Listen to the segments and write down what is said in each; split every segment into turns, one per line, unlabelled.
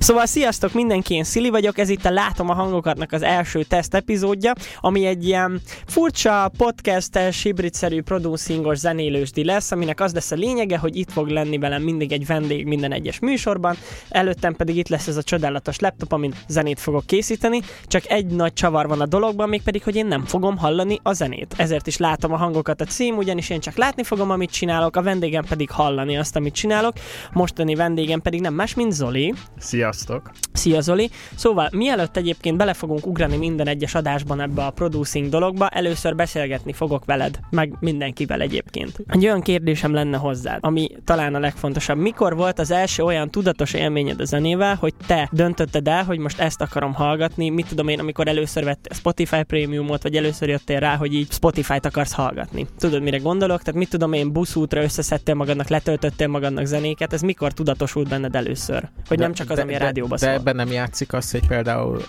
Szóval sziasztok mindenki, én Szili vagyok, ez itt a Látom a hangokatnak az első teszt epizódja, ami egy ilyen furcsa, podcastes, hibridszerű, producingos, zenélősdi lesz, aminek az lesz a lényege, hogy itt fog lenni velem mindig egy vendég minden egyes műsorban, előttem pedig itt lesz ez a csodálatos laptop, amin zenét fogok készíteni, csak egy nagy csavar van a dologban, mégpedig, hogy én nem fogom hallani a zenét. Ezért is látom a hangokat a cím, ugyanis én csak látni fogom, amit csinálok, a vendégem pedig hallani azt, amit csinálok. Mostani vendégem pedig nem más, mint Zoli.
Sziasztok!
Szia Zoli! Szóval mielőtt egyébként bele fogunk ugrani minden egyes adásban ebbe a producing dologba, először beszélgetni fogok veled, meg mindenkivel egyébként. Egy olyan kérdésem lenne hozzád, ami talán a legfontosabb. Mikor volt az első olyan tudatos élményed a zenével, hogy te döntötted el, hogy most ezt akarom hallgatni, mit tudom én, amikor először vettél Spotify prémiumot, vagy először jöttél rá, hogy így Spotify-t akarsz hallgatni. Tudod, mire gondolok? Tehát mit tudom én, buszútra összeszedtél magadnak, letöltöttél magadnak zenéket, ez mikor tudatosult benned először? Hogy
De-
nem csak az,
de-
ami a
de-
rádióba
De
szól.
ebben nem játszik az, hogy például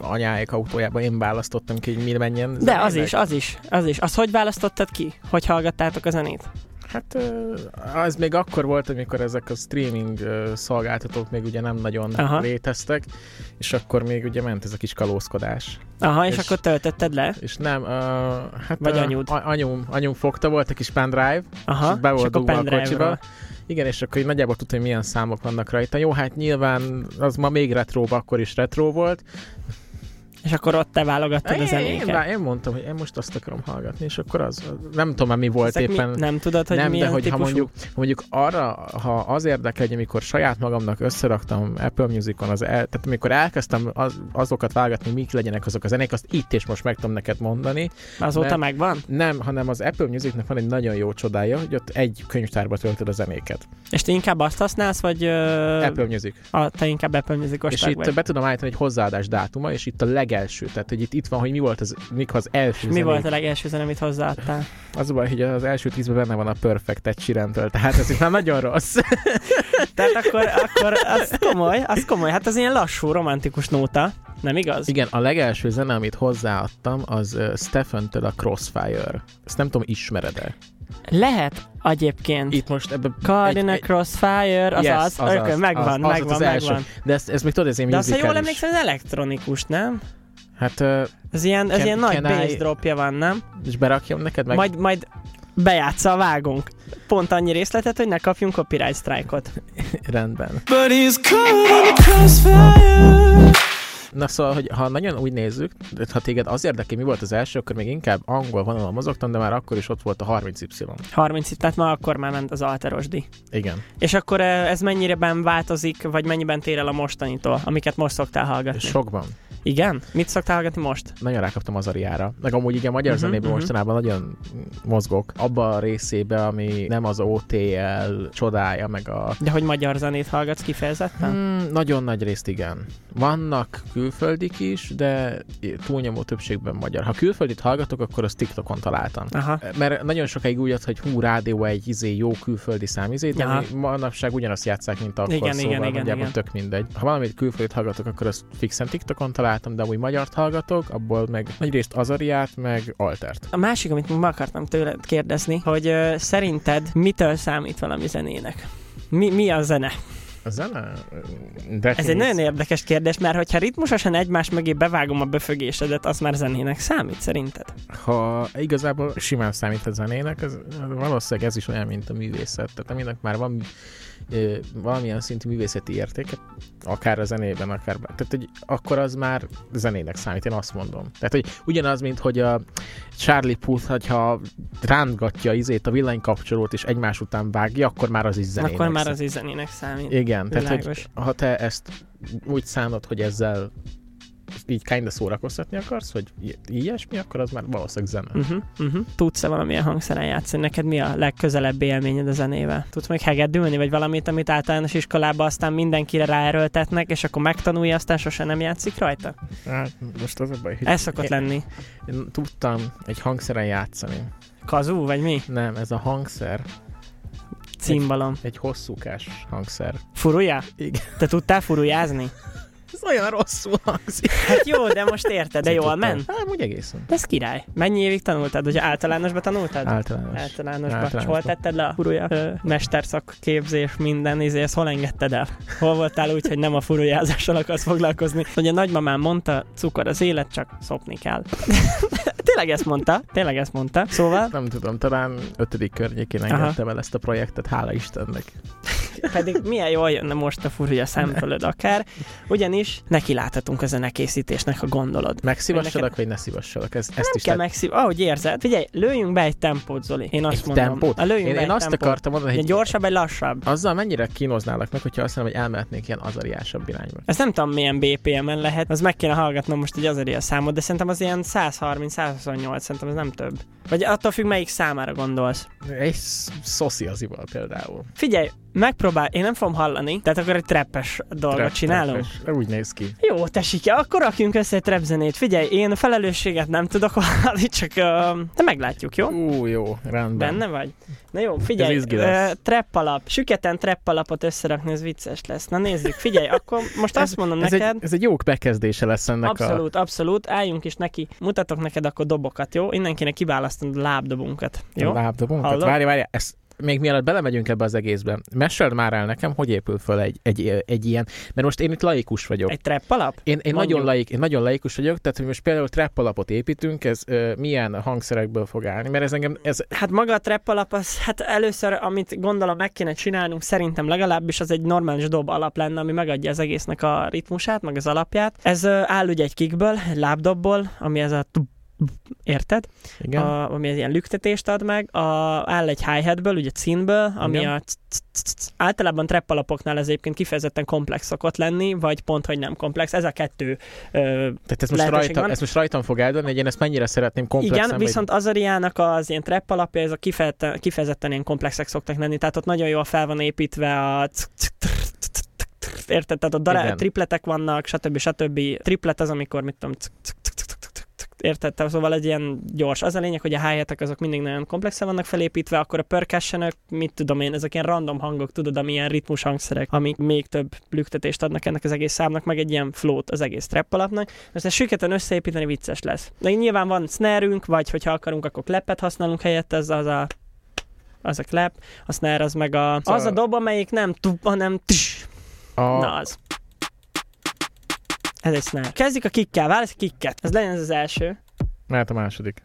uh, anyáik autójába én választottam ki, hogy mi menjen.
De az
zenének?
is, az is, az is. Azt hogy választottad ki? Hogy hallgattátok a zenét?
Hát uh, az még akkor volt, amikor ezek a streaming uh, szolgáltatók még ugye nem nagyon
Aha.
Aha. léteztek, és akkor még ugye ment ez a kis kalózkodás.
Aha, és,
És-
akkor töltötted le?
És nem, uh, hát...
Vagy
ö,
anyud.
A, anyum, anyum fogta, volt egy kis pendrive,
Aha,
és be volt dugva a
pendrive-ról.
kocsiba. Igen, és akkor így nagyjából tudta, hogy milyen számok vannak rajta. Jó, hát nyilván az ma még retróba, akkor is retró volt.
És akkor ott te válogattad a
Én, én,
zenéket.
már- én mondtam, hogy én most azt akarom hallgatni, és akkor az, nem tudom már mi volt
Ezek mi-
éppen.
Nem tudod, hogy
nem, de
milyen
hogyha
típusú?
mondjuk, mondjuk arra, ha az érdekel, hogy amikor saját magamnak összeraktam Apple Musicon, az el, tehát amikor elkezdtem az, azokat válogatni, mik legyenek azok a zenék, azt itt és most meg tudom neked mondani.
Azóta
nem.
megvan?
Nem, hanem az Apple Musicnak van egy nagyon jó csodája, hogy ott egy könyvtárba töltöd a zenéket.
És te inkább azt használsz, vagy ö,
Apple Music.
a, te inkább Apple Musicos
És
tag
itt
vagy?
be tudom állítani egy hozzáadás dátuma, és itt a legelső. Tehát, hogy itt, itt van, hogy mi volt az, mik az első
Mi
zenék.
volt a legelső zene, amit hozzáadtál?
Az a baj, hogy az első tízben benne van a Perfect egy sirentől, tehát ez itt már nagyon rossz.
Tehát akkor, akkor az komoly, az komoly. Hát az ilyen lassú, romantikus nóta, nem igaz?
Igen, a legelső zene, amit hozzáadtam, az uh, Stephen-től a Crossfire. Ezt nem tudom, ismered-e?
Lehet egyébként.
Itt most ebben...
Cardinal Crossfire, az
Yes,
az,
azaz,
Örkö- megvan,
az- az
megvan,
az első.
megvan.
De ezt, ezt még tudod, ez én
De azt, ha jól
musical is.
emlékszem, ez elektronikus, nem?
Hát, uh,
Ez ilyen, ez
Can-
ilyen nagy
can
bass
I-
dropja van, nem?
és berakjam neked meg?
Meg... Majd, majd bejátsza a vágunk. Pont annyi részletet, hogy ne kapjunk copyright strike-ot.
Rendben.
But he's caught in the crossfire.
Na szóval, hogy ha nagyon úgy nézzük, ha téged az érdekel, mi volt az első, akkor még inkább angol vonalon mozogtam, de már akkor is ott volt a 30Y.
30 év, tehát ma akkor már ment az alterosdi.
Igen.
És akkor eh, ez mennyiben változik, vagy mennyiben tér el a mostanitól, amiket most szoktál hallgatni?
Sokban.
Igen? Mit szoktál hallgatni most?
Nagyon rákaptam az Ariára. Meg amúgy így a magyar
Mhm,
uh-huh, zenében
mhm.
mostanában nagyon mozgok. Abba a részébe, ami nem az OTL csodája, meg a...
De hogy magyar zenét hallgatsz kifejezetten?
Hmm, nagyon nagy részt igen. Vannak külföldik is, de túlnyomó többségben magyar. Ha külföldit hallgatok, akkor azt TikTokon találtam.
Aha.
Mert nagyon sokáig úgy jött, hogy hú, rádió egy izé, jó külföldi számizé, de
Aha.
mi manapság ugyanazt játszák, mint akkor,
Igen,
igen,
igen,
szóval
igen,
igen, nagyjából
igen.
igen. tök mindegy. Ha valamit külföldit hallgatok, akkor azt fixen TikTokon találtam, de amúgy magyart hallgatok, abból meg nagyrészt Azariát, meg Altert.
A másik, amit ma akartam tőled kérdezni, hogy ö, szerinted mitől számít valami zenének? Mi, mi a zene?
A zene?
Ez egy nagyon érdekes kérdés, mert hogyha ritmusosan egymás mögé bevágom a böfögésedet, az már zenének számít szerinted?
Ha igazából simán számít a zenének, az, valószínűleg ez is olyan, mint a művészet. Tehát aminek már van ö, valamilyen szintű művészeti értéke, akár a zenében, akár... bár- Tehát, hogy akkor az már zenének számít, én azt mondom. Tehát, hogy ugyanaz, mint hogy a Charlie Puth, hogyha rántgatja izét a villanykapcsolót és egymás után vágja, akkor már az is zenének
Akkor már
számít.
az is zenének számít.
Igen, tehát, hogy
Világos.
ha te ezt úgy szánod, hogy ezzel így kinda szórakoztatni akarsz, hogy i- ilyesmi, akkor az már valószínűleg zene.
Uh-huh, uh-huh. Tudsz-e valamilyen hangszeren játszani? Neked mi a legközelebbi élményed a zenével? Tudsz még hegedülni, vagy valamit, amit általános iskolában aztán mindenkire ráerőltetnek, és akkor megtanulja, aztán sose nem játszik rajta?
Hát, most az a baj, hogy
Ez szokott lenni.
Én tudtam egy hangszeren játszani.
Kazú, vagy mi?
Nem, ez a hangszer
Címbalom.
egy hosszúkás hangszer.
Furulja?
Igen.
Te tudtál furujázni?
Ez olyan rosszul hangzik.
Hát jó, de most érted, de jól ment.
Hát, úgy egészen.
De ez király. Mennyi évig tanultad? Hogy általánosba tanultad?
Általános.
hát- Általánosban. És
Általánosban.
hol tetted le a furuja? Ö, mesterszak képzés, minden, izé, ezt hol engedted el? Hol voltál úgy, hogy nem a furujázással akarsz foglalkozni? Ugye a nagymamám mondta, cukor az élet, csak szopni kell. tényleg ezt mondta, tényleg ezt mondta. Szóval
Nem tudom, talán ötödik környékén engedtem el ezt a projektet, hála Istennek.
pedig milyen jól jönne most a furúja szemfölöd akár, ugyanis neki láthatunk a zenekészítésnek, ha gondolod.
Megszívassalak, vagy ne szívassalak? Ez, ezt is
Kell
lehet
megszív... Ahogy érzed. Figyelj, lőjünk be egy tempót, Zoli. Én azt
Egy
mondom.
tempót?
A lőjünk
Én,
be
én
egy
azt
tempót.
akartam mondani,
Egy
hogy
gyorsabb, egy lassabb.
azzal mennyire kínoználak meg, hogyha azt mondom, hogy elmehetnénk ilyen azariásabb irányba.
Ez nem tudom milyen BPM-en lehet, az meg kéne hallgatnom most egy azeri a számot, de szerintem az ilyen 130-128, szerintem ez nem több. Vagy attól függ, melyik számára gondolsz.
Egy sz- szoszi az ival például.
Figyelj, megpróbál, én nem fogom hallani, tehát akkor egy treppes dolgot
Trap,
csinálunk.
trappes. Úgy néz ki.
Jó, tesike, akkor rakjunk össze egy trap zenét. Figyelj, én felelősséget nem tudok vállalni, csak uh, de meglátjuk, jó?
Ú, jó, rendben.
Benne vagy? Na jó, figyelj,
Ez izgi lesz.
ö, trap alap, süketen trap alapot összerakni, ez vicces lesz. Na nézzük, figyelj, akkor most azt mondom
Ez
neked,
egy, ez egy jó bekezdése lesz ennek a...
abszolút, abszolút, álljunk is neki, mutatok neked akkor dobokat, jó? Innenkinek kiválasztanod a lábdobunkat, jó?
A lábdobunkat.
Hallod?
Várj, várj, ezt még mielőtt belemegyünk ebbe az egészbe, meséld már el nekem, hogy épül föl egy, egy, egy ilyen, mert most én itt laikus vagyok.
Egy trap alap?
Én,
Mondjuk.
én, nagyon laik, én nagyon laikus vagyok, tehát hogy most például trap alapot építünk, ez ö, milyen hangszerekből fog állni, mert ez engem, ez,
Hát maga a trap alap az, hát először, amit gondolom meg kéne csinálnunk, szerintem legalábbis az egy normális dob alap lenne, ami megadja az egésznek a ritmusát, meg az alapját. Ez ö, áll ugye egy kickből, egy lábdobból, ami ez a tub- érted?
igen, a...
A, ami egy ilyen lüktetést ad meg, a, áll egy hi hatből ugye cínből, ami
Igen.
a c- c- c- c- általában trap alapoknál ez egyébként kifejezetten komplex szokott lenni, vagy pont, hogy nem komplex. Ez a kettő ö,
tehát ez most,
lehetőség
rajta,
van.
ez most rajtam fog eldönni, hogy én ezt mennyire szeretném komplexen.
igen,
vagy-
viszont Azariának az ilyen trap alapja, ez a kifejezetten, kifejezetten ilyen komplexek szoktak lenni, tehát ott nagyon jól fel van építve a c- c- tr- c- c- tr- érted, tehát ott dará-
Igen.
tripletek vannak, stb. stb. Triplet az, amikor, mit tudom, c- c- c- c- c- c- c- érted, Tehát szóval egy ilyen gyors. Az a lényeg, hogy a hi azok mindig nagyon komplexen vannak felépítve, akkor a percussion mit tudom én, ezek ilyen random hangok, tudod, ami ilyen ritmus hangszerek, amik még több lüktetést adnak ennek az egész számnak, meg egy ilyen flót az egész trap alapnak. Most ezt süketen összeépíteni vicces lesz. De nyilván van snare-ünk, vagy hogyha akarunk, akkor klepet használunk helyett, ez az a az a klep, a snare az meg a... Az a dob, amelyik nem tup, hanem tis.
a...
Na az. Ez egy snare. Kezdjük a kikkel, válasz kikket. Ez legyen ez az első.
Mehet a második.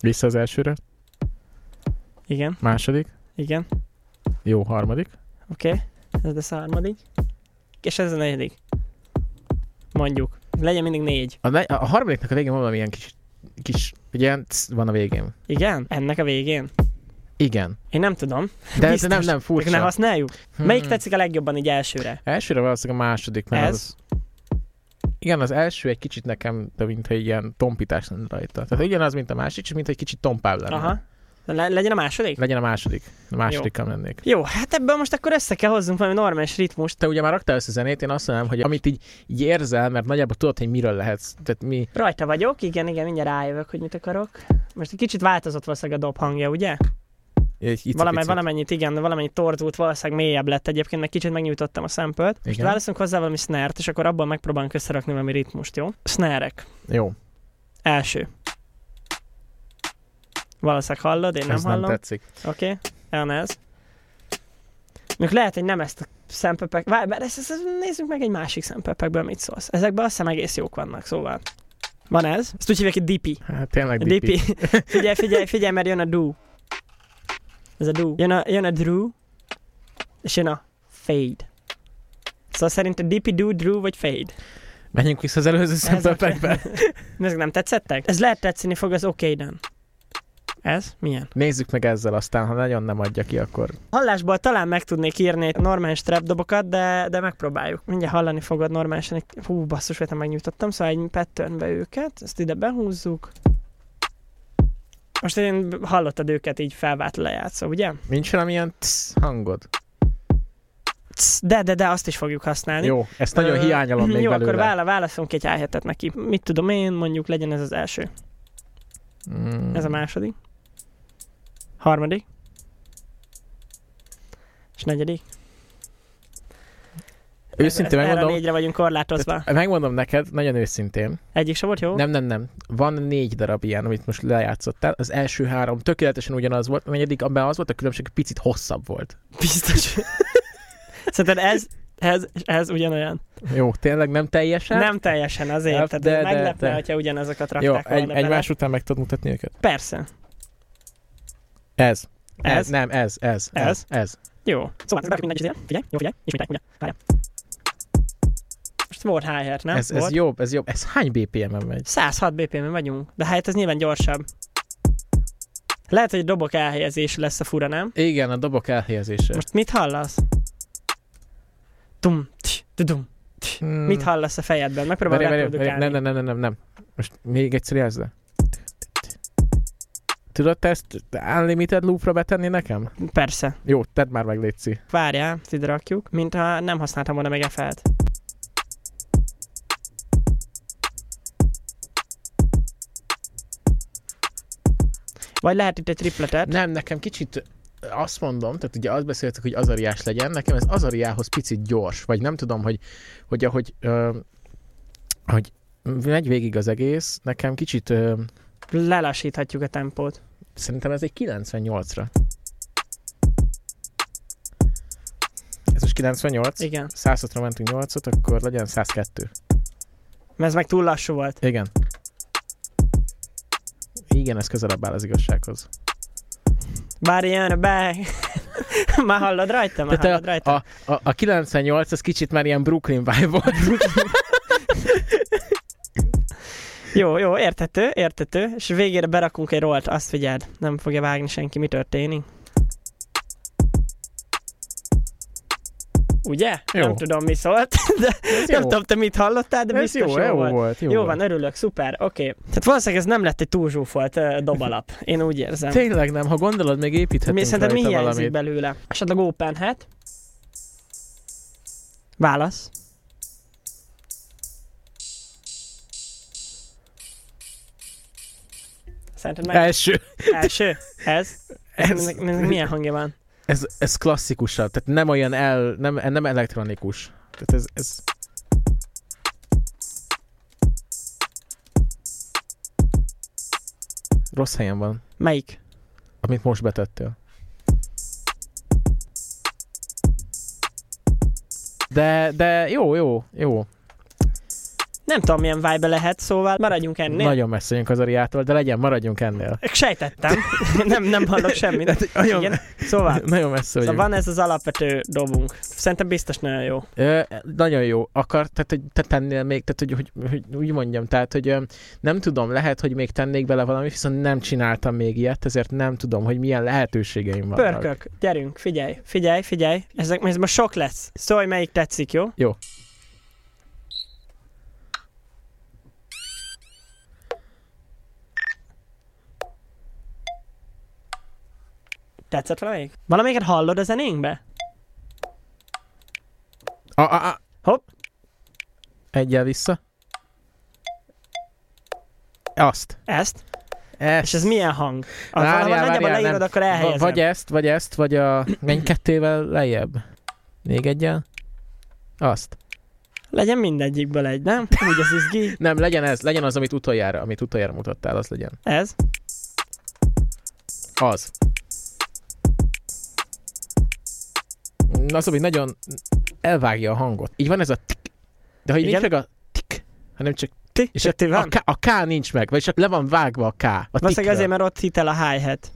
Vissza az elsőre.
Igen,
Második.
igen,
Jó, harmadik.
oké. Okay. Ez lesz a harmadik. És ez a negyedik. Mondjuk. Legyen mindig négy.
A, ne- a harmadiknak a végén van valami ilyen kis, kis ilyen c- van a végén.
Igen? Ennek a végén.
Igen.
Én nem tudom.
De ez
Biztos.
nem, nem
Csak
furcsa.
ne használjuk. Melyik
Hmm.
tetszik a legjobban így elsőre?
Elsőre valószínűleg a második, mert
Ez?
az... Igen, az első egy kicsit nekem, de mintha egy ilyen tompítás lenne rajta. Tehát ugyanaz, mint a másik, csak mintha egy kicsit tompább lenne.
Aha. Le- legyen a második?
Legyen a második. A másodikkal mennék.
Jó, hát ebből most akkor össze kell hozzunk valami normális ritmust.
Te ugye már raktál össze zenét, én azt mondanám, hogy amit így, így érzel, mert nagyjából tudod, hogy miről lehetsz. Tehát mi...
Rajta vagyok, igen, igen, mindjárt rájövök, hogy mit akarok. Most egy kicsit változott valószínűleg a dob hangja, ugye?
Itt
Valami, valamennyit, igen, valamennyit torzult, valószínűleg mélyebb lett egyébként, mert kicsit megnyújtottam a szempölt. Most
Igen.
válaszunk hozzá valami snert, és akkor abban megpróbálunk összerakni valami ritmust, jó? Snerek.
Jó.
Első. Valószínűleg hallod, én nem
ez
hallom.
nem tetszik.
Oké, okay. elnez. Még lehet, hogy nem ezt a szempepek... Várj, bár ezt, ezt, ezt, nézzük meg egy másik szempepekből, mit szólsz. Ezekben azt hiszem egész jók vannak, szóval. Van ez? Ezt úgy hívják, hogy dipi.
Hát tényleg
A
dipi.
dipi. figyelj, figyelj, figyelj, mert jön a do. Ez a do. Jön a, jön a drew, és jön a fade. Szóval szerinted dipi, do, drew vagy fade?
Menjünk vissza az előző szempepekbe.
Ezek nem tetszettek? Ez lehet tetszeni fog az okéden. Ez? Milyen?
Nézzük meg ezzel aztán, ha nagyon nem adja ki, akkor
Hallásból talán meg tudnék írni egy normális trap dobokat, de, de megpróbáljuk. Mindjárt hallani fogod normálisan. egy- Hú, basszus, vettem megnyújtottam, szóval egy patternbe őket, ezt ide behúzzuk. Most én hallottad őket így felvált lejátszó, ugye?
nincs valami ilyen tsz hangod.
Tsz, De, de, de, azt is fogjuk használni.
Jó, ezt nagyon
Ö,
hiányolom még
Jó,
belőle.
akkor vála, válaszolunk egy ájhetet neki. Mit tudom én, mondjuk legyen ez az első.
Mm.
Ez a második. Harmadik. És negyedik.
Őszintén
Erre a
megmondom,
négyre vagyunk korlátozva.
tehát megmondom neked, nagyon őszintén.
Egyik sem volt jó?
Nem, nem, nem. Van négy darab ilyen, amit most lejátszottál. Az első három tökéletesen ugyanaz volt, a negyedik, abban az volt, a különbség picit hosszabb volt.
Biztos. Szerinted ez, ez, ez ugyanolyan.
Jó, tényleg nem teljesen?
Nem teljesen azért,
Hát
tehát de,
de- de-
meglepne,
de.
hogyha ugyanazokat
Jó,
rakták
egy,
volna bele.
egymás után meg tudod mutatni őket.
Persze.
Ez.
Ez?
Nem, ez, ez,
Ez?
ez, ez.
Jó. Szóval ez mindegy, figyelj, figyelj, jó, figyelj, ismételj, ugye, várjál. Most volt HR, nem?
ez,
volt.
ez jobb, ez jobb. Ez hány BPM-en megy?
106 BPM-en vagyunk, de hát ez nyilván gyorsabb. Lehet, hogy dobok elhelyezés lesz a fura, nem?
Igen, a dobok elhelyezése.
Most mit hallasz? Dum, ts, dum.
Hmm.
Mit hallasz a fejedben? Megpróbálom
Várj, várj, várj,
reprodukálni.
nem, nem, nem, nem, nem, nem. Most még egyszer jelzd le. Tudod te ezt unlimited loopra betenni nekem?
Persze.
Jó, tedd már meg, Léci.
Várjál, ezt ide rakjuk, mintha nem használtam volna meg FL-t. Vagy lehet itt egy tripletet.
Hát Nem, nekem kicsit eh, azt mondom, tehát ugye azt beszéltük, hogy azariás legyen, nekem ez azariához picit gyors, vagy nem tudom, hogy, hogy ahogy ö, hogy megy végig az egész, nekem kicsit ö,
Lelassíthatjuk a tempót.
Szerintem ez egy 98-ra. Ez most 98.
Igen.
105-ra mentünk 8-ot, akkor legyen 102.
Mert ez meg túl lassú volt.
Igen. Igen, ez közelebb áll az igazsághoz.
Bár ilyen be... már hallod rajta? Már
Tehát
hallod rajta?
A, a, a 98, ez kicsit már ilyen Brooklyn vibe volt.
Jó, jó, értető, értető. És végére berakunk egy rollt, azt figyeld. Nem fogja vágni senki, mi történik. Ugye?
Jó.
Nem tudom, mi szólt.
Ez
Nem tudom, te mit hallottál, de
ez
biztos
jó, jó,
volt.
volt. Jó,
Jó, van, örülök, szuper, oké. Okay. Tehát valószínűleg ez nem lett egy túl zsúfolt ö, dobalap, én úgy érzem.
Tényleg nem, ha gondolod, még építhetünk
Mi szerinted mi
rajta
hiányzik
valamit.
belőle? Esetleg open hat? Válasz. Szerinted meg
Első.
első? Ez?
Ez,
Ennek, ennek milyen hangja van?
ez, ez klasszikusabb, tehát nem olyan el, nem, nem elektronikus. Tehát ez, ez rossz helyen van,
Melyik?
amit most betettél. De, de jó, jó, jó.
Nem tudom, milyen vibe lehet, szóval maradjunk ennél.
Nagyon messze vagyunk az Ariától, de legyen, maradjunk ennél.
Sejtettem. nem, nem hallok semmit.
Tehát, Hát, nagyon,
Igen. Szóval,
nagyon messze
szóval
vagyunk.
van ez az alapvető dobunk. Szerintem biztos nagyon jó.
Ö, nagyon jó. Akar, tehát hogy te tennél még, tehát hogy, hogy, hogy úgy mondjam, tehát hogy ö, nem tudom, lehet, hogy még tennék bele valamit, viszont nem csináltam még ilyet, ezért nem tudom, hogy milyen lehetőségeim vannak.
Pörkök, gyerünk, figyelj, figyelj, figyelj. Ezek, ez most sok lesz. Szólj, melyik tetszik, jó?
Jó.
Tetszett valamelyik? Valamelyiket hallod a zenénkbe?
A, a, a.
Hopp.
Egyel vissza. Azt.
Ezt?
Ezt.
És ez milyen hang? Ha
Várjál,
valahol nagyjából
várjál,
leírod,
nem.
akkor
Va-
elhelyezem.
Vagy ezt, vagy ezt, vagy a... Menj kettével lejjebb. Még egyel. Azt.
Legyen mindegyikből egy, nem? Úgy az izgi.
Nem, legyen ez, legyen az, amit utoljára, amit utoljára mutattál, az legyen.
Ez.
Az. Az, szóval, hogy nagyon elvágja a hangot. Így van ez a tik. De ha így
Igen.
nincs meg a tik, hanem csak
Ti?
és
És ti
a,
van?
k, a K nincs meg, vagy csak le van vágva a K. A tikről.
Valószínűleg azért, mert ott hitel a hi-hat.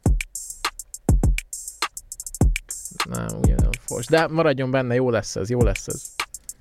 Nem, ugyanolyan fos. De maradjon benne, jó lesz ez, jó lesz ez.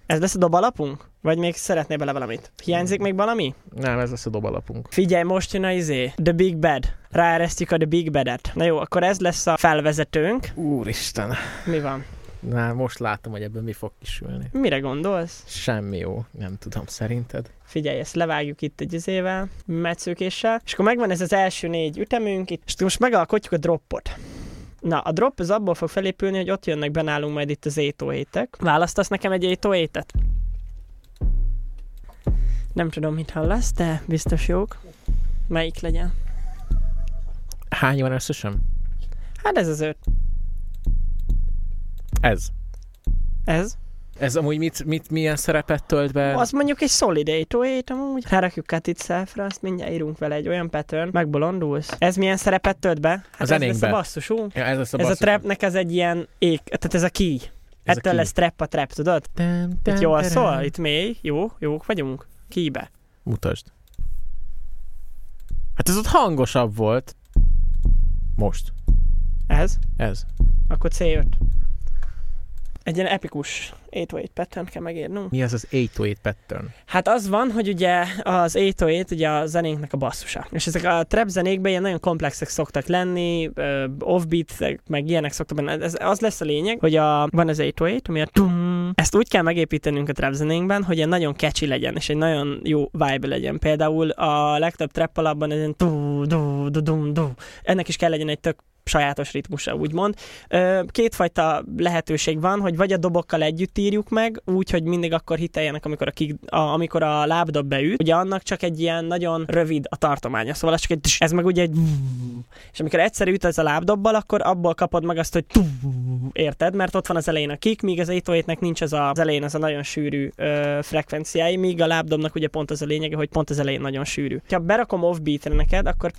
Ez lesz a dobalapunk? Vagy még szeretnél bele valamit? Hiányzik még valami?
Nem, ez lesz a dobalapunk.
Figyelj, most jön a izé. The Big Bad. Ráeresztjük a The Big Badet. Na jó, akkor ez lesz a felvezetőnk.
Úristen.
Mi van?
Na, most látom, hogy ebben mi fog kisülni.
Mire gondolsz?
Semmi jó, nem tudom, szerinted?
Figyelj, ezt levágjuk itt egy izével, metszőkéssel, és akkor megvan ez az első négy ütemünk itt, és akkor most megalkotjuk a droppot. Na, a drop az abból fog felépülni, hogy ott jönnek be nálunk majd itt az étóétek. Választasz nekem egy étóétet? Nem tudom, mit hallasz, de biztos jók. Melyik legyen?
Hány van összesen?
Hát ez az öt.
Ez.
Ez?
Ez amúgy mit, mit, milyen szerepet tölt be?
Az mondjuk egy solid 808 amúgy. Rárakjuk Cut It Self-ra, azt mindjárt írunk vele egy olyan pattern, megbolondulsz. Ez milyen szerepet tölt be? Hát
A
ez lesz
zenénkbe.
a basszusú.
ja, ez lesz a
ez a
basszus.
trapnek ez egy ilyen ék, tehát ez a key.
Ez a
Ettől
key.
lesz trap a trap, tudod?
Tem, tem,
Itt jól
terem.
szól, itt mély, jó, jók vagyunk. Kibe.
Mutasd. Hát ez ott hangosabb volt. Most.
Ez?
Ez.
Akkor C5. Egy ilyen epikus 808 pattern kell megírnunk.
Mi az az 808 pattern?
Hát az van, hogy ugye az 808 ugye a zenénknek a basszusa. És ezek a trap zenékben ilyen nagyon komplexek szoktak lenni, ö, offbeat, meg ilyenek szoktak benne. Ez, az lesz a lényeg, hogy a, van az 808, ami a tum, ezt úgy kell megépítenünk a trap zenénkben, hogy ilyen nagyon catchy legyen, és egy nagyon jó vibe legyen. Például a legtöbb trap alapban ez ilyen du, du, du, du, du. Ennek is kell legyen egy tök sajátos ritmusa, úgymond. Ö, kétfajta lehetőség van, hogy vagy a dobokkal együtt írjuk meg, úgy, hogy mindig akkor hiteljenek, amikor a, kick, a, amikor a lábdob beüt. Ugye annak csak egy ilyen nagyon rövid a tartománya, szóval az csak egy, tss, ez meg ugye egy és amikor egyszer üt ez a lábdobbal, akkor abból kapod meg azt, hogy érted, mert ott van az elején a kick, míg az 808-nek nincs az, a, az elején az a nagyon sűrű ö, frekvenciái, míg a lábdobnak ugye pont az a lényege, hogy pont az elején nagyon sűrű. Ha berakom offbeatre neked, akkor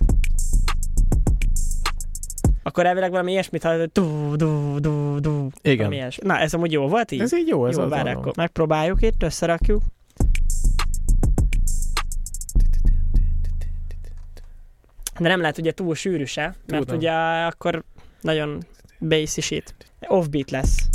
akkor elvileg valami ilyesmit hallod, hogy du, du, du, du, valami
Igen.
ilyesmi. Na, ez amúgy jó volt így?
Ez így jó, ez
jó,
az
várj,
alap.
akkor megpróbáljuk itt, összerakjuk. De nem lehet ugye túl sűrű se, mert
Tudom.
ugye akkor nagyon bass is itt. Offbeat lesz.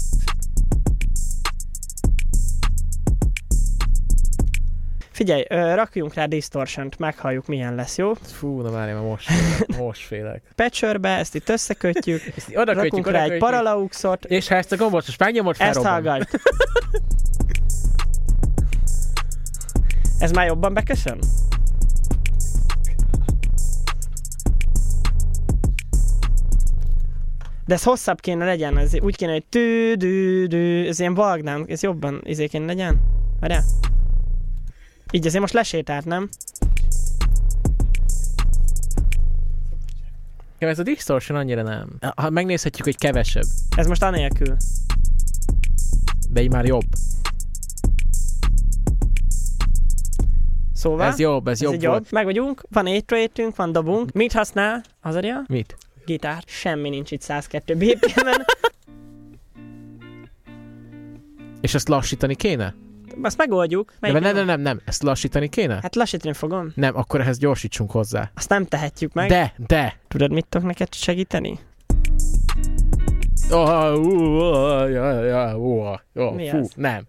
Figyelj, ö, rakjunk rá distortion meghalljuk milyen lesz, jó?
Fú, na már én már most félek. Most félek.
Patcherbe, ezt itt összekötjük,
Ezt így oda
rakunk
kötjük,
rá
oda
egy
kötjük.
paralauxot,
És ha ezt a gombot most megnyomod,
ezt
felrobban.
hallgass. Ez már jobban beköszön? De ez hosszabb kéne legyen, ez úgy kéne, hogy tű, dű, dű, ez ilyen vagnám, ez jobban izé kéne legyen. Várjál. Így azért most lesétált, nem?
Ja, ez a distortion annyira nem. Ha megnézhetjük, hogy kevesebb,
Ez most anélkül.
de így már jobb.
Szóval,
Ez jobb, ez,
ez
jobb,
így
volt.
Meg vagyunk, van 8 van dobunk. Mit használ? Az adja?
Mit?
gitár, semmi nincs itt 102 BPM-en.
És ezt lassítani kéne?
Azt megoldjuk.
De
Melyik
nem, nem,
jó?
nem, nem, nem. Ezt lassítani kéne?
Hát lassítani fogom.
Nem, akkor ehhez gyorsítsunk hozzá.
Azt nem tehetjük meg. De...
De, de.
Tudod, mit tudok neked segíteni?
Oh, uh, uh, ja, ja, uh,
Mi
oh, fú,
az?
nem.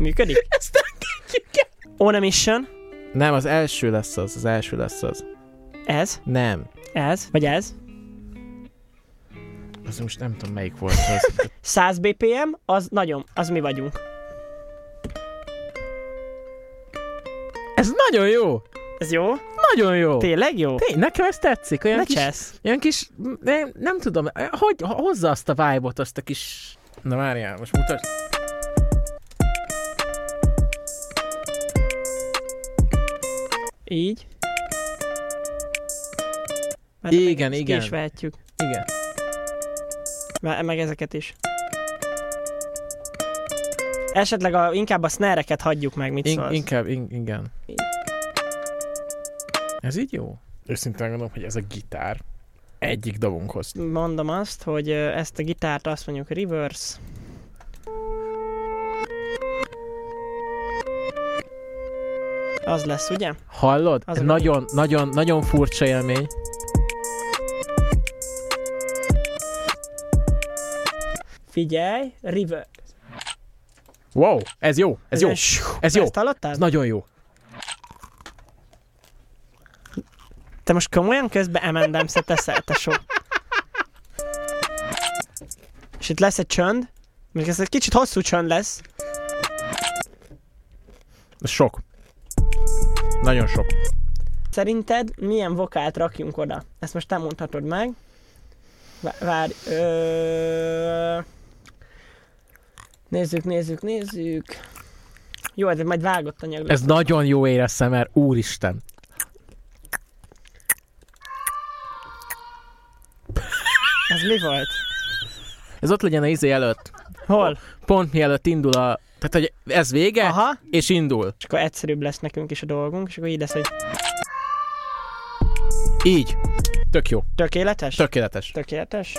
Működik? Ezt nem On a mission.
Nem, az első lesz az, az első lesz az.
Ez,
Nem.
ez, vagy ez.
Az most nem tudom melyik volt az.
100 BPM, az nagyon, az mi vagyunk.
Ez nagyon jó!
Ez jó?
Nagyon jó!
Tényleg jó?
Tény, nekem ez tetszik, olyan
Ne
kis,
csesz.
Ilyen kis, nem, nem tudom, hogy hozza azt a vibe-ot, azt a kis... Na várjál, most mutasd.
Így. Mert meg ezt
Igen,
ki
igen.
is vehetjük.
Igen.
Me- meg ezeket is. Esetleg a, inkább a snare-eket hagyjuk meg, mit
In,
szólsz.
inkább, in, igen. Ez így jó? Őszintén gondolom, hogy ez a gitár egyik dobunkhoz.
mondom azt, hogy ö, ezt a gitárt azt mondjuk reverse. Az lesz, ugye?
Hallod?
Az
Ez
a
nagyon, nagyon, nagyon furcsa élmény.
Figyelj, reverse.
Wow, ez jó, ez jó, ez jó,
Ezt hallottad?
ez nagyon jó.
Te most komolyan közben emendem se teszel, te sok. És itt lesz egy csönd. Még ez egy kicsit hosszú csönd lesz.
Ez sok. Nagyon sok.
Szerinted milyen vokált rakjunk oda? Ezt most te mondhatod meg. Vá- Várj. Ö... Nézzük, nézzük, nézzük. Jó, ez majd vágott anyag. lesz.
Ez nagyon jó éreztem, mert úristen.
Ez mi volt?
Ez ott legyen a izé előtt.
Hol?
Pont mielőtt indul a... Tehát, hogy ez vége, Aha.
Aha.
és indul.
e- És akkor egyszerűbb lesz nekünk is a dolgunk, és akkor így lesz, hogy
Így. Tök jó.
tökéletes?
Tökéletes.
Tökéletes?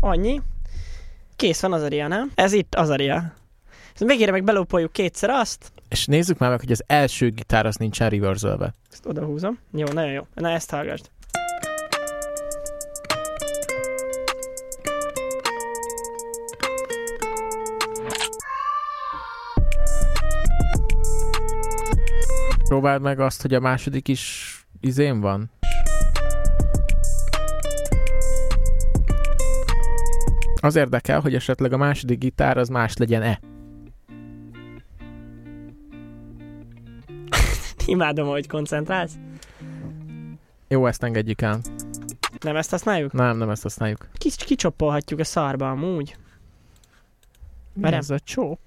Annyi. Kész van az aria, nem? Ez itt az aria. Ezt végére meg belópoljuk kétszer azt,
És nézzük már meg, hogy az első gitár az nincsen reverzelve.
ezt odahúzom. Jó, nagyon jó. Na ezt hallgassd.
Próbáld meg azt, hogy a második is izén van. Az érdekel, hogy esetleg a második gitár az más legyen-e.
Imádom, hogy koncentrálsz.
Jó, ezt engedjük el.
Nem ezt használjuk?
Nem, nem ezt használjuk.
Kis, kicsoppolhatjuk a szarba amúgy.
Mi
Merem.
az a csop?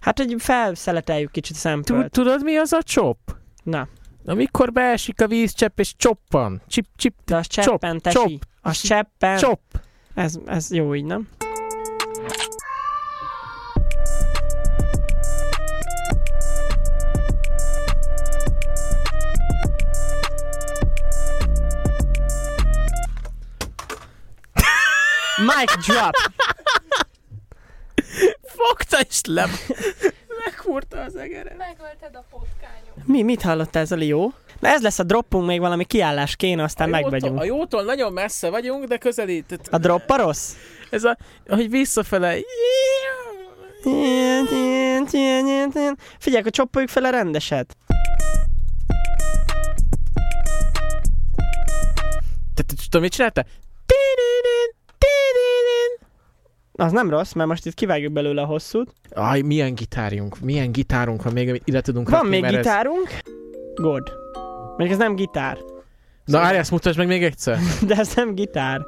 Hát, hogy felszeleteljük kicsit a
Tud-
szempölt.
Tudod, mi az a csop?
Na,
Amikor beesik a vízcsepp és csoppan. Csip, csip,
de az
Csop,
cseppen, tesi.
csop.
Az cseppen.
csop.
Ez, ez jó így, nem? Mic drop!
Fogta és le... Meghúrta az egeret.
Megölted a potkányot.
Mi, mit hallottál ez a jó? Na ez lesz a droppunk, még valami kiállás kéne, aztán megvegyünk.
A jótól nagyon messze vagyunk, de közelített.
A drop a rossz?
Ez a, hogy visszafele...
Figyelj, akkor csoppoljuk fel a rendeset.
Te, te tudod, mit csinálta?
Az nem rossz, mert most itt kivágjuk belőle a hosszút.
Aj, milyen gitárunk, milyen gitárunk van még, amit ide tudunk
Van
rakni,
még
Hát mert ez-
gitárunk. God. Még ez nem gitár.
Na, várj, ezt mutasd meg még egyszer.
De ez nem gitár.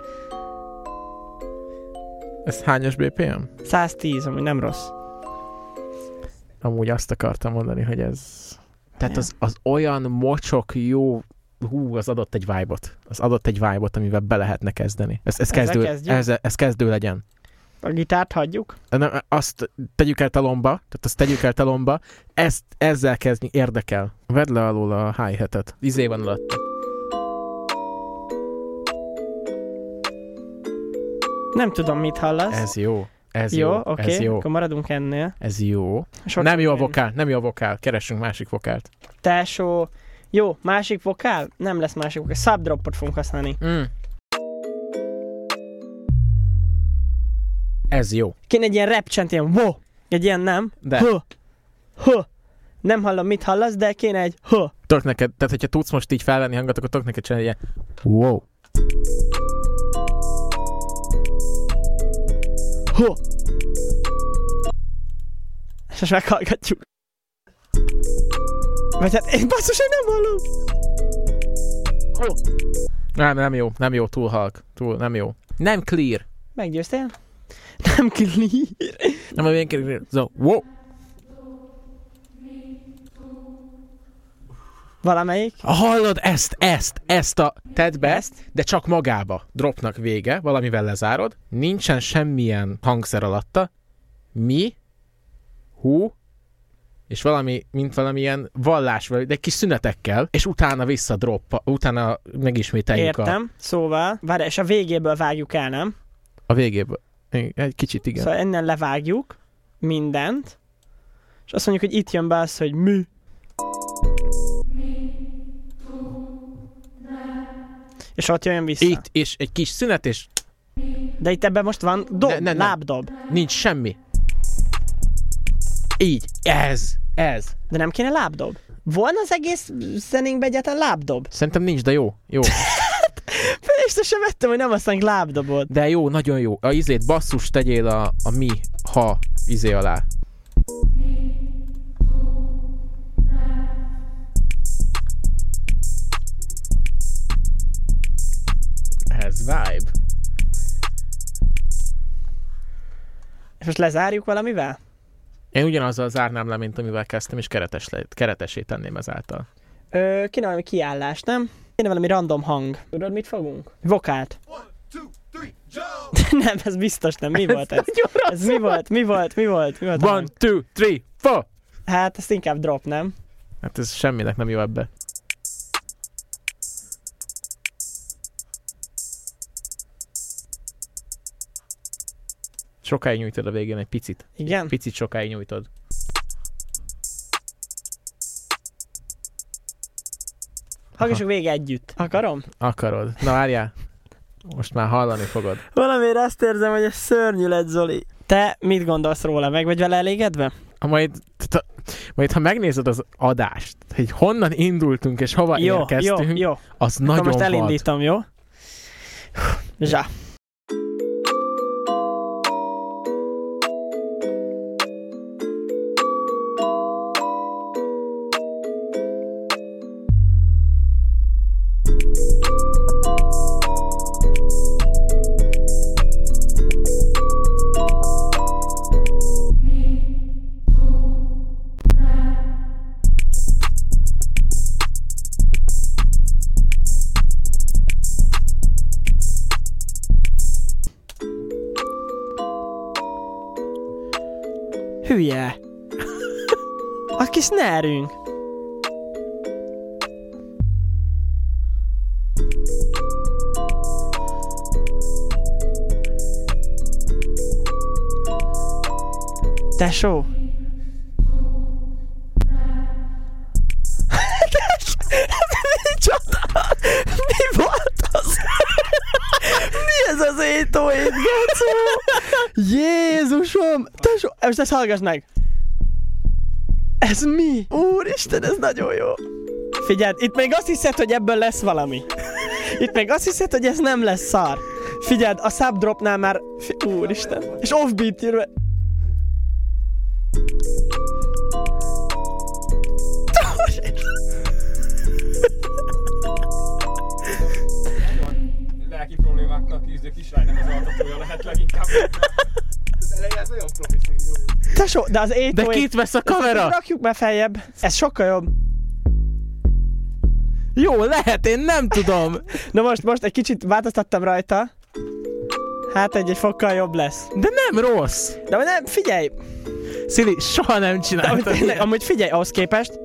Ez hányos BPM?
110, ami nem rossz.
Amúgy azt akartam mondani, hogy ez... Tehát
Ja.
az, az olyan mocsok jó... Hú, az adott egy vibe-ot. Az adott egy vibe-ot, amivel be lehetne kezdeni. Ez, ez,
Ezzel
kezdő,
kezdjük?
ez, ez kezdő legyen.
A gitárt hagyjuk.
Nem, azt tegyük el talomba, tehát azt tegyük el talomba, ezt, ezzel kezdni érdekel. Vedd le alul a hi hat Izé van alatt.
Nem tudom, mit hallasz.
Ez jó. Ez jó,
jó,
jó
oké,
ez jó,
akkor maradunk ennél.
ez jó.
Sok
nem jó a
minden.
vokál, nem jó a vokál, keressünk másik vokált.
Tesó. Jó, másik vokál? Nem lesz másik vokál. Subdropot fogunk használni.
Mm. Ez jó.
Kéne egy ilyen rap csend, ilyen wo. Egy ilyen nem.
De
Hö. Hö. Nem hallom, mit hallasz, de kéne egy hö.
tök neked, tehát hogyha tudsz most így felvenni hangot, akkor tök neked csinálni ilyen. Wow.
Hö. És most meghallgatjuk. Vagy hát én basszus, én nem hallom.
Nem, nem jó, nem jó, túl halk, túl, nem jó. Nem clear.
Meggyőztél? Nem clear.
Nem olyan clear. So, wow.
Valamelyik?
Hallod ezt, ezt, ezt a tedd be, ezt, de csak magába. Dropnak vége, valamivel lezárod. Nincsen semmilyen hangszer alatta. Mi, hú, és valami, mint valamilyen vallás, vagy- de kis szünetekkel, és utána vissza drop, utána megismételjük a,
Értem. Szóval, várj, és a végéből vágjuk el, nem?
a végéből. Igen, Egy kicsit igen.
Szóval innen levágjuk mindent, és azt mondjuk, hogy itt jön be az, hogy mi. És ott jön vissza.
Itt, és egy kis szünet, és
De itt ebben most van dob,
Ne,
ne, ne,
ne, ne.
lábdob.
nincs semmi. Így, ez, ez.
De nem kéne lábdob. Volna az egész zenénkbe egyáltalán lábdob.
Szerintem nincs, de jó, jó.
Fel észre sem vettem, hogy nem használunk lábdobot.
De jó, nagyon jó. A izét basszus tegyél a, a mi, ha izé alá. Ez vibe.
És most lezárjuk valamivel?
Én ugyanazzal zárnám le, mint amivel kezdtem, és keretes le, keretesé tenném ezáltal.
Ö, kéne valami kiállás, nem? Kéne valami random hang. Tudod, mit fogunk? Vokált. nem, ez biztos nem. Mi volt ez? ez mi volt? Mi volt? Mi volt? Mi volt? a
One,
hang?
two, three, four!
Hát, ezt inkább drop, nem?
Hát ez semminek nem jó ebbe. Sokáig nyújtod a végén egy picit.
Igen?
Picit sokáig nyújtod.
Hallgassuk vége együtt. Akarom?
Akarod. Na várjál. Most már hallani fogod.
Valamiért azt érzem, hogy ez szörnyű lett, Zoli. Te mit gondolsz róla? Meg vagy vele elégedve?
Ha majd, tehát a- majd ha megnézed az adást, hogy honnan indultunk és hova
jó, jó,
érkeztünk,
jó.
az nagyon
Akkor most
vad.
elindítom, jó? Zsá. Hülye. A kis nerünk. Tesó. Micsoda? Mi volt az? Mi ez az étó étgecó? Jézusom! Tesó, most ezt hallgass meg! Ez mi? Úristen, ez nagyon jó! Figyeld, itt még azt hiszed, hogy ebből lesz valami. Itt még azt hiszed, hogy ez nem lesz szar. Figyeld, a subdropnál már... fi- Úristen. És offbeat írva.
lelki problémákkal küzdő kislánynak az altatója lehet leginkább. Az eleje ez nagyon profi szingó.
Tesó, de az étó
De kit vesz a kamera?
Rakjuk már feljebb. Ez sokkal jobb.
Jó, lehet, én nem tudom.
Na most, most egy kicsit változtattam rajta. Hát egy, egy fokkal jobb lesz.
De nem rossz.
De nem, figyelj!
Szili, soha nem
De amúgy,
csináltam.
tényleg, amúgy figyelj, ahhoz képest.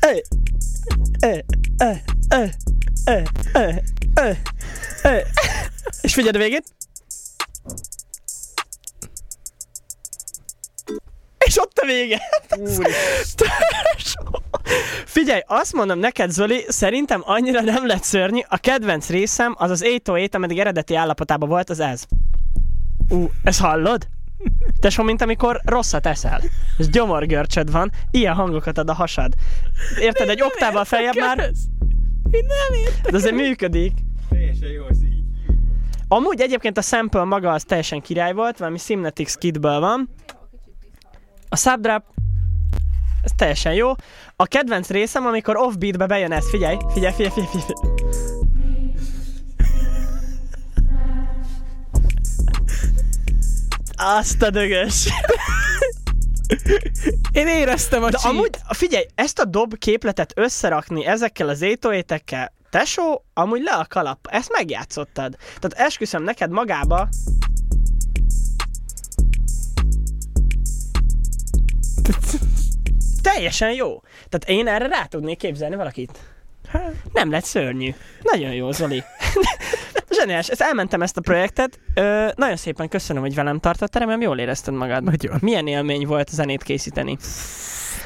Ey! Ey! Ey! Ey! Ey! Ey! Ey! Ey! És figyeld a végét! És ott a vége! Figyelj, azt mondom neked, Zoli, szerintem annyira nem lett szörnyű. A kedvenc részem az az 808, ameddig eredeti állapotában volt, az ez. Ú, ezt hallod? Tesó, mint amikor rosszat eszel. És gyomorgörcsöd van, ilyen hangokat ad a hasad. Érted, egy oktával feljebb már,
Én nem értek.
de azért működik.
Teljesen jó, ez így.
Amúgy egyébként a sample maga az teljesen király volt, valami Simnetics kitből van. A subdrop, ez teljesen jó. A kedvenc részem, amikor offbeatbe bejön ez, figyelj, figyelj, figyelj, figyelj, figyelj. Azt a dögös.
Én éreztem a
De
csíp.
amúgy, figyelj, ezt a dob képletet összerakni ezekkel az étóétekkel, tesó, amúgy le a kalap, ezt megjátszottad. Tehát esküszöm neked magába, teljesen jó. Tehát én erre rá tudnék képzelni valakit.
Hát.
Nem lett szörnyű. Nagyon jó, Zoli. Zseniás, ezt elmentem ezt a projektet. Ö, nagyon szépen köszönöm, hogy velem tartottál, remélem jól érezted magad.
Nagyon.
Milyen élmény volt zenét készíteni?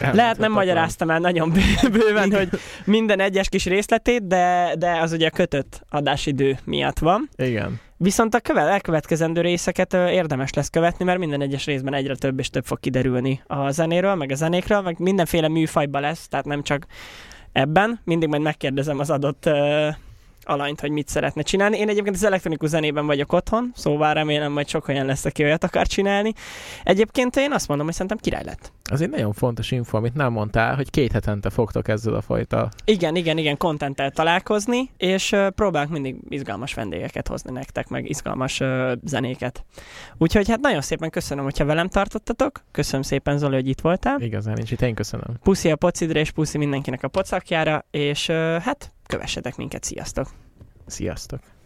Nem,
Lehet nem magyaráztam el nagyon bő- bőven, hogy minden egyes kis részletét, de, de az ugye a kötött adásidő miatt van.
Igen.
Viszont a köve- elkövetkezendő részeket ö, érdemes lesz követni, mert minden egyes részben egyre több és több fog kiderülni a zenéről, meg a zenékről, meg mindenféle műfajba lesz, tehát nem csak ebben. Mindig majd megkérdezem az adott ö, alanyt, hogy mit szeretne csinálni. Én egyébként az elektronikus zenében vagyok otthon, szóval remélem, hogy sok olyan lesz, aki olyat akar csinálni. Egyébként én azt mondom, hogy szerintem király lett.
Az egy nagyon fontos info, amit nem mondtál, hogy két hetente fogtok ezzel a fajta...
Igen, igen, igen, kontenttel találkozni, és ö, próbálunk mindig izgalmas vendégeket hozni nektek, meg izgalmas ö, zenéket. Úgyhogy hát nagyon szépen köszönöm, hogyha velem tartottatok. Köszönöm szépen, Zoli, hogy itt voltál.
Igazán nincs itt, én köszönöm.
Puszi a pocidra, és puszi mindenkinek a pocakjára, és ö, hát kövessetek minket, sziasztok!
Sziasztok!